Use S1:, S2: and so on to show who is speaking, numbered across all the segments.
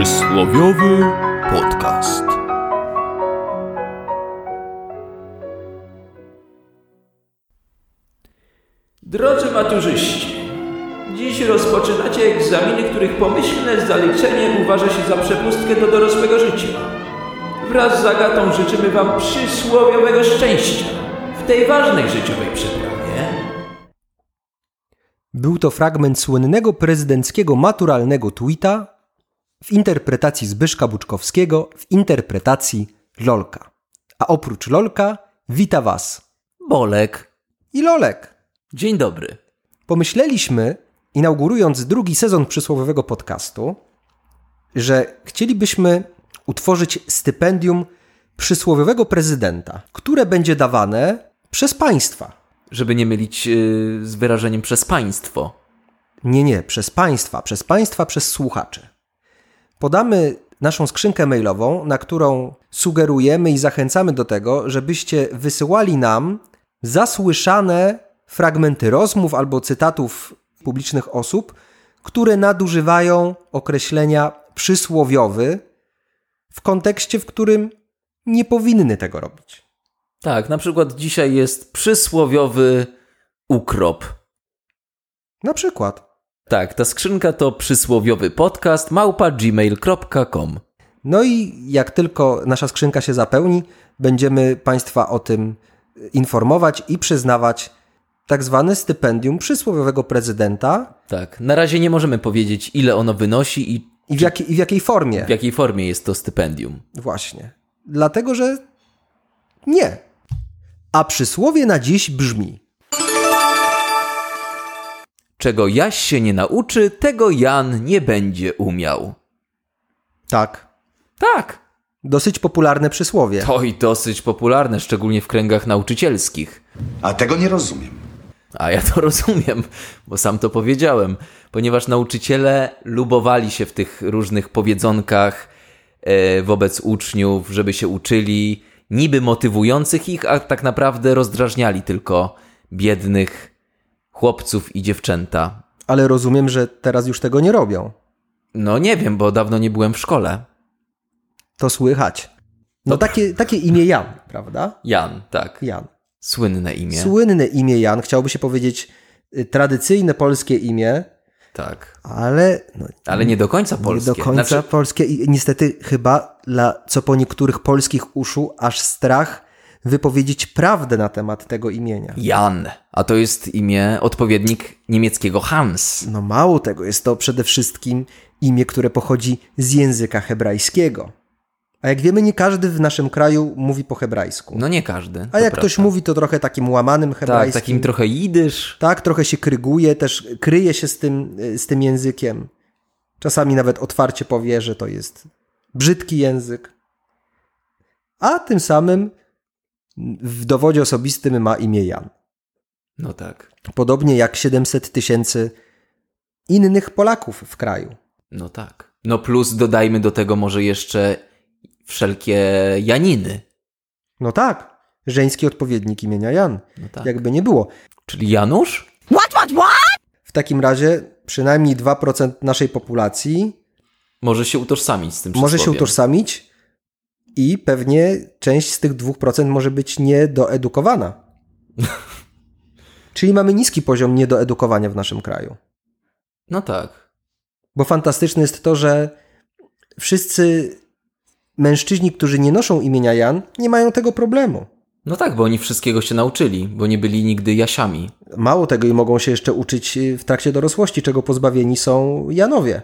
S1: Przysłowiowy podcast.
S2: Drodzy maturzyści, dziś rozpoczynacie egzaminy, których pomyślne zaliczenie uważa się za przepustkę do dorosłego życia. Wraz z Agatą życzymy Wam przysłowiowego szczęścia w tej ważnej życiowej przeprawie.
S3: Był to fragment słynnego prezydenckiego maturalnego tweeta w interpretacji Zbyszka Buczkowskiego w interpretacji Lolka. A oprócz Lolka wita Was
S4: Bolek.
S3: i Lolek.
S4: Dzień dobry.
S3: Pomyśleliśmy, inaugurując drugi sezon przysłowiowego podcastu, że chcielibyśmy utworzyć stypendium przysłowiowego prezydenta, które będzie dawane przez państwa.
S4: Żeby nie mylić yy, z wyrażeniem przez państwo.
S3: Nie, nie, przez państwa, przez państwa, przez słuchaczy. Podamy naszą skrzynkę mailową, na którą sugerujemy i zachęcamy do tego, żebyście wysyłali nam zasłyszane fragmenty rozmów albo cytatów publicznych osób, które nadużywają określenia przysłowiowy w kontekście, w którym nie powinny tego robić.
S4: Tak, na przykład dzisiaj jest przysłowiowy ukrop.
S3: Na przykład
S4: Tak, ta skrzynka to przysłowiowy podcast małpa gmail.com.
S3: No i jak tylko nasza skrzynka się zapełni, będziemy Państwa o tym informować i przyznawać tak zwane stypendium przysłowiowego prezydenta
S4: Tak, na razie nie możemy powiedzieć ile ono wynosi i
S3: i w, jak, i w jakiej formie.
S4: w jakiej formie jest to stypendium.
S3: Właśnie. Dlatego, że nie. A przysłowie na dziś brzmi.
S4: Czego Jaś się nie nauczy, tego Jan nie będzie umiał.
S3: Tak.
S4: Tak,
S3: Dosyć popularne przysłowie.
S4: to i dosyć popularne, szczególnie w kręgach nauczycielskich.
S5: A tego nie rozumiem.
S4: A ja to rozumiem, bo sam to powiedziałem, ponieważ nauczyciele lubowali się w tych różnych powiedzonkach e, wobec uczniów, żeby się uczyli, niby motywujących ich, a tak naprawdę rozdrażniali tylko biednych chłopców i dziewczęta.
S3: Ale rozumiem, że teraz już tego nie robią.
S4: No nie wiem, bo dawno nie byłem w szkole.
S3: To słychać. No takie, takie imię Jan, prawda?
S4: Jan, tak.
S3: Jan.
S4: Słynne imię.
S3: Słynne imię Jan, chciałoby się powiedzieć y, tradycyjne polskie imię,
S4: tak.
S3: ale no,
S4: Ale nie do końca polskie.
S3: nie do końca
S4: Znaczy,
S3: polskie i niestety chyba dla co po niektórych polskich uszu aż strach wypowiedzieć prawdę na temat tego imienia.
S4: Jan, a to jest imię odpowiednik niemieckiego Hans.
S3: No mało tego, jest to przede wszystkim imię, które pochodzi z języka hebrajskiego. A jak wiemy, nie każdy w naszym kraju mówi po hebrajsku.
S4: No nie każdy. to
S3: A jak
S4: prawda.
S3: ktoś mówi, to trochę takim łamanym
S4: Tak,
S3: hebrajskim.
S4: takim trochę jidysz.
S3: Tak, trochę się kryguje, też kryje się z tym, y, z tym językiem. Czasami nawet otwarcie powie, że to jest brzydki język. A tym samym w dowodzie osobistym ma imię Jan.
S4: No tak,
S3: Podobnie jak 700 tysięcy innych Polaków w kraju.
S4: no tak. No plus dodajmy do tego może jeszcze wszelkie Janiny.
S3: No tak, żeński odpowiednik imienia Jan.
S4: No tak.
S3: Jakby nie było.
S4: Czyli Janusz?
S3: W takim razie przynajmniej 2% naszej populacji
S4: Może się utożsamić z tym
S3: może się
S4: przysłowiem.
S3: utożsamić i pewnie część z tych 2% może być niedoedukowana. Czyli mamy niski poziom niedoedukowania w naszym kraju.
S4: No tak.
S3: Bo fantastyczne jest to, że wszyscy mężczyźni, którzy nie noszą imienia Jan, nie mają tego problemu.
S4: No tak, bo oni wszystkiego się nauczyli, bo nie byli nigdy Jasiami.
S3: Mało tego i mogą się jeszcze uczyć y, w trakcie dorosłości, czego pozbawieni są Janowie.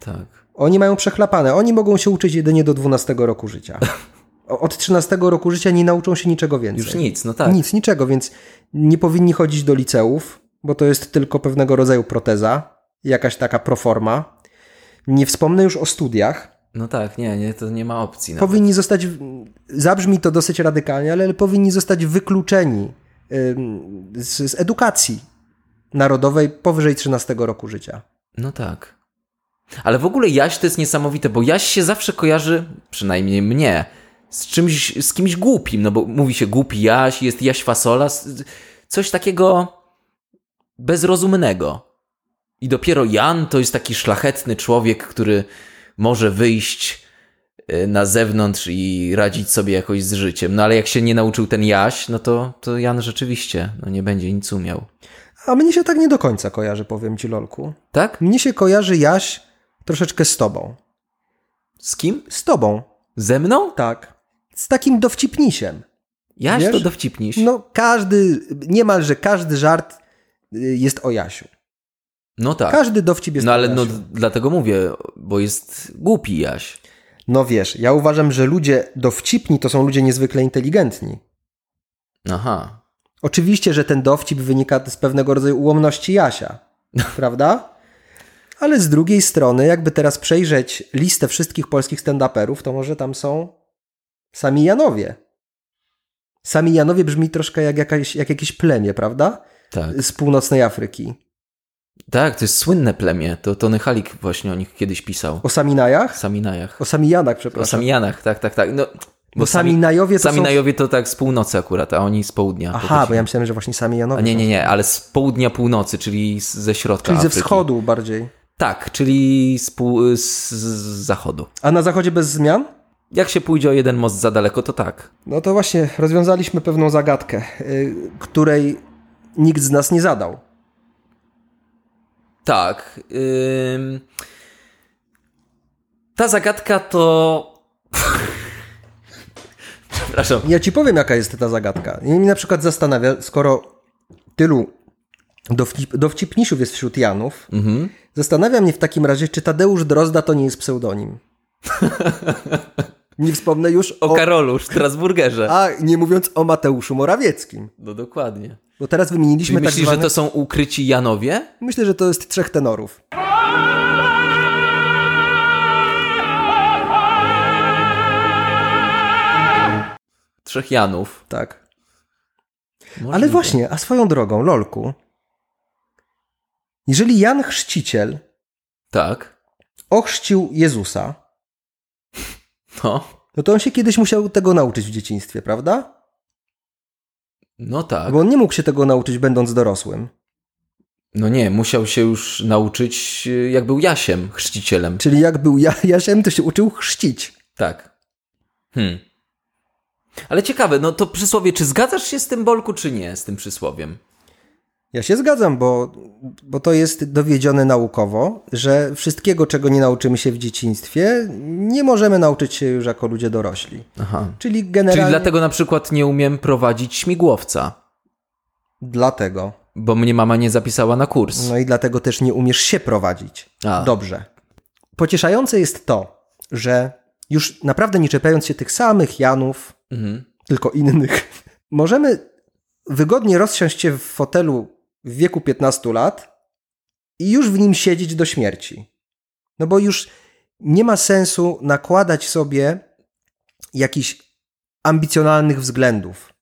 S4: Tak.
S3: Oni mają przechlapane. Oni mogą się uczyć jedynie do 12 roku życia. O- Od 13 roku życia nie nauczą się niczego więcej.
S4: Już nic, no tak.
S3: Nic, niczego, więc nie powinni chodzić do liceów, bo to jest tylko pewnego rodzaju proteza, jakaś taka proforma. Nie wspomnę już o studiach.
S4: No tak, nie, nie, to nie ma opcji. Nawet.
S3: Powinni zostać, w- zabrzmi to dosyć radykalnie, ale powinni zostać wykluczeni ym, z, z edukacji narodowej powyżej 13 roku życia.
S4: No tak. Ale w ogóle Jaś to jest niesamowite, bo Jaś się zawsze kojarzy, przynajmniej mnie, z czymś, z kimś głupim, no bo mówi się głupi Jaś, jest Jaś Fasola, s- coś takiego bezrozumnego. I dopiero Jan to jest taki szlachetny człowiek, który może wyjść e, na zewnątrz i radzić sobie jakoś z życiem. No ale jak się nie nauczył ten Jaś, no to, to Jan rzeczywiście no, nie będzie nic umiał.
S3: A mnie się tak nie do końca kojarzy, powiem ci, Lolku.
S4: Tak?
S3: Mnie się kojarzy Jaś troszeczkę z tobą.
S4: Z kim?
S3: Z tobą,
S4: Ze mną?
S3: tak. Z takim dowcipnisiem.
S4: Jaś
S3: Wiesz?
S4: to dowcipniś. No.
S3: No każdy, niemalże każdy żart y, jest o Jasiu.
S4: tak.
S3: Każdy dowcip jest
S4: No ale
S3: o
S4: no
S3: Jasiu.
S4: dlatego mówię, bo jest głupi Jaś.
S3: No wiesz, ja uważam, że ludzie dowcipni to są ludzie niezwykle inteligentni.
S4: Aha.
S3: Oczywiście, że ten dowcip wynika z pewnego rodzaju ułomności Jasia, prawda? Ale z drugiej strony, jakby teraz przejrzeć listę wszystkich polskich stand-uperów, to może tam są sami Janowie. Sami Janowie brzmi troszkę jak, jakaś, jak jakieś plemię, prawda?
S4: Tak.
S3: Z północnej Afryki.
S4: Tak, to jest słynne plemię. To Tony Halik właśnie o nich kiedyś pisał.
S3: O Saminajach?
S4: Saminajach.
S3: O Samijanach,
S4: O
S3: przepraszam.
S4: Samijanach, tak, tak, tak. No,
S3: Bo Saminajowie to są...
S4: Saminajowie to tak z północy akurat, a oni z południa.
S3: Aha,
S4: pochodzili.
S3: bo ja myślałem, że właśnie
S4: A
S3: Samijanowie.
S4: nie, nie, nie, ale z południa północy, czyli z, ze środka
S3: Czyli ze
S4: Afryki.
S3: wschodu bardziej.
S4: Tak, czyli z, pół, z, z zachodu.
S3: A na zachodzie bez zmian?
S4: Jak się pójdzie o jeden most za daleko, to tak.
S3: No to właśnie, rozwiązaliśmy pewną zagadkę, y, której nikt z nas nie zadał.
S4: Tak. ym. Ta zagadka to... Przepraszam.
S3: Ja ci powiem, jaka jest ta zagadka. I mnie na przykład zastanawia, skoro tylu dowcip, dowcipniszów jest wśród Janów,
S4: Mhm.
S3: zastanawia mnie w takim razie, czy Tadeusz Drozda to nie jest pseudonim. nie wspomnę już
S4: O
S3: o...
S4: Karolu, Strasburgerze.
S3: A, nie mówiąc o Mateuszu Morawieckim.
S4: No dokładnie.
S3: Bo teraz
S4: Czyli
S3: wymieniliśmy tak
S4: myślisz,
S3: zwane...
S4: że to są ukryci Janowie?
S3: Myślę, że to jest trzech tenorów.
S4: Trzech Janów.
S3: Tak.
S4: Może
S3: Ale
S4: by-
S3: właśnie, a swoją drogą, Lolku, jeżeli Jan Chrzciciel
S4: Tak.
S3: ochrzcił Jezusa,
S4: No.
S3: no to on się kiedyś musiał tego nauczyć w dzieciństwie, prawda?
S4: No tak.
S3: Bo on nie mógł się tego nauczyć będąc dorosłym.
S4: No nie, musiał się już nauczyć, y, jak był Jasiem, chrzcicielem.
S3: Czyli jak był ja, Jasiem, to się uczył chrzcić.
S4: Tak. Hmm. Ale ciekawe, no to przysłowie, czy zgadzasz się z tym Bolku, czy nie, z tym przysłowiem?
S3: Ja się zgadzam, bo, bo to jest dowiedzione naukowo, że wszystkiego, czego nie nauczymy się w dzieciństwie, nie możemy nauczyć się już jako ludzie dorośli.
S4: Aha.
S3: Czyli
S4: Czyli
S3: generalnie...
S4: dlatego na przykład nie umiem prowadzić śmigłowca,
S3: dlatego.
S4: bo mnie mama nie zapisała na kurs.
S3: No i dlatego też nie umiesz się prowadzić
S4: A.
S3: dobrze. Pocieszające jest to, że już naprawdę nie czepiając się tych samych Janów,
S4: Mhm.
S3: tylko innych, możemy wygodnie rozsiąść się w fotelu w wieku 15 lat i już w nim siedzieć do śmierci. No bo już nie ma sensu nakładać sobie jakichś ambicjonalnych względów.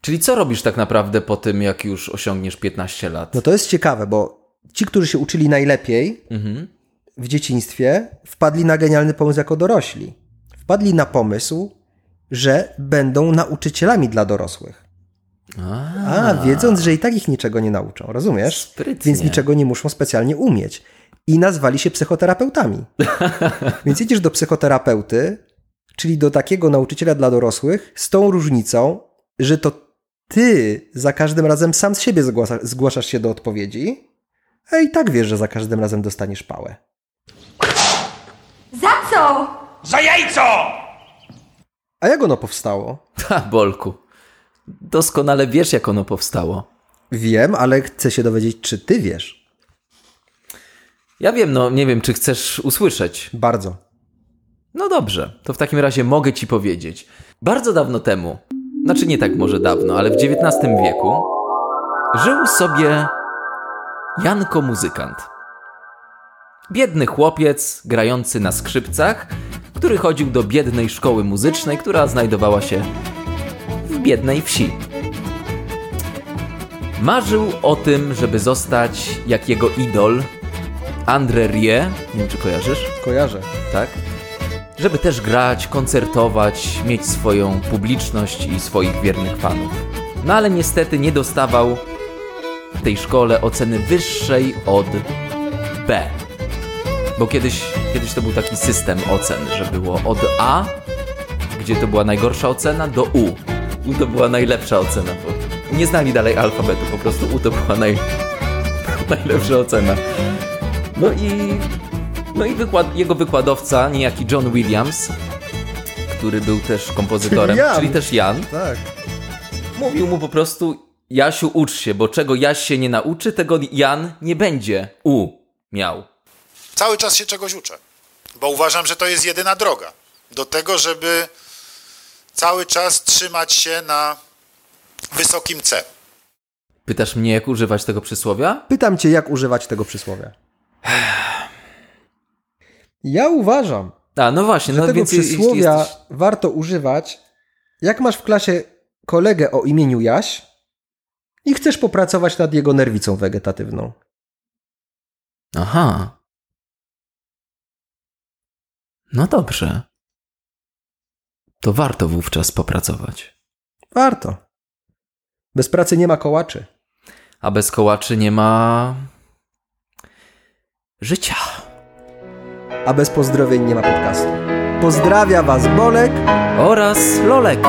S4: Czyli co robisz tak naprawdę po tym, jak już osiągniesz 15 lat?
S3: No to jest ciekawe, bo ci, którzy się uczyli najlepiej,
S4: Mhm.
S3: w dzieciństwie wpadli na genialny pomysł jako dorośli. Wpadli na pomysł, że będą nauczycielami dla dorosłych. A, wiedząc, że i tak ich niczego nie nauczą, rozumiesz?
S4: Sprytnie.
S3: Więc niczego nie muszą specjalnie umieć. I nazwali się psychoterapeutami. Więc idziesz do psychoterapeuty, czyli do takiego nauczyciela dla dorosłych, z tą różnicą, że to ty za każdym razem sam z siebie zgłasza, zgłaszasz się do odpowiedzi, a i tak wiesz, że za każdym razem dostaniesz pałę.
S5: Za co?
S1: Za jajco!
S3: A jak ono powstało?
S4: Ha, Bolku. Doskonale wiesz, jak ono powstało.
S3: Wiem, ale chcę się dowiedzieć, czy ty wiesz.
S4: Ja wiem, no nie wiem, czy chcesz usłyszeć.
S3: Bardzo.
S4: No dobrze, to w takim razie mogę ci powiedzieć. Bardzo dawno temu, znaczy nie tak może dawno, ale w XIX wieku, żył sobie Janko Muzykant. Biedny chłopiec grający na skrzypcach, który chodził do biednej szkoły muzycznej, która znajdowała się w biednej wsi. Marzył o tym, żeby zostać jak jego idol André Rie, nie wiem czy kojarzysz,
S3: Kojarzę.
S4: tak? Żeby też grać, koncertować, mieć swoją publiczność i swoich wiernych fanów. No ale niestety nie dostawał w tej szkole oceny wyższej od B. Bo kiedyś, kiedyś to był taki system ocen, że było od A, gdzie to była najgorsza ocena, do U. U to była najlepsza ocena, bo nie znali dalej alfabetu, po prostu U to była naj... najlepsza ocena. No i, no i wykład, jego wykładowca, niejaki John Williams, który był też kompozytorem,
S3: Czyli Jan.
S4: czyli też Jan,
S3: Tak.
S4: Mówił mu po prostu, Jasiu ucz się, bo czego Jaś się nie nauczy, tego Jan nie będzie u miał.
S5: Cały czas się czegoś uczę, bo uważam, że to jest jedyna droga do tego, żeby cały czas trzymać się na wysokim C.
S4: Pytasz mnie, jak używać tego przysłowia?
S3: Pytam cię, jak używać tego przysłowia. Ja uważam,
S4: A, no właśnie, no
S3: tego
S4: więc jeśli
S3: przysłowia
S4: jesteś...
S3: warto używać, jak masz w klasie kolegę o imieniu Jaś i chcesz popracować nad jego nerwicą wegetatywną.
S4: Aha. No dobrze. To warto wówczas popracować.
S3: Warto. Bez pracy nie ma kołaczy.
S4: A bez kołaczy nie ma... życia.
S3: a bez pozdrowień nie ma podcastu. Pozdrawia Was Bolek.
S4: Oraz lolek.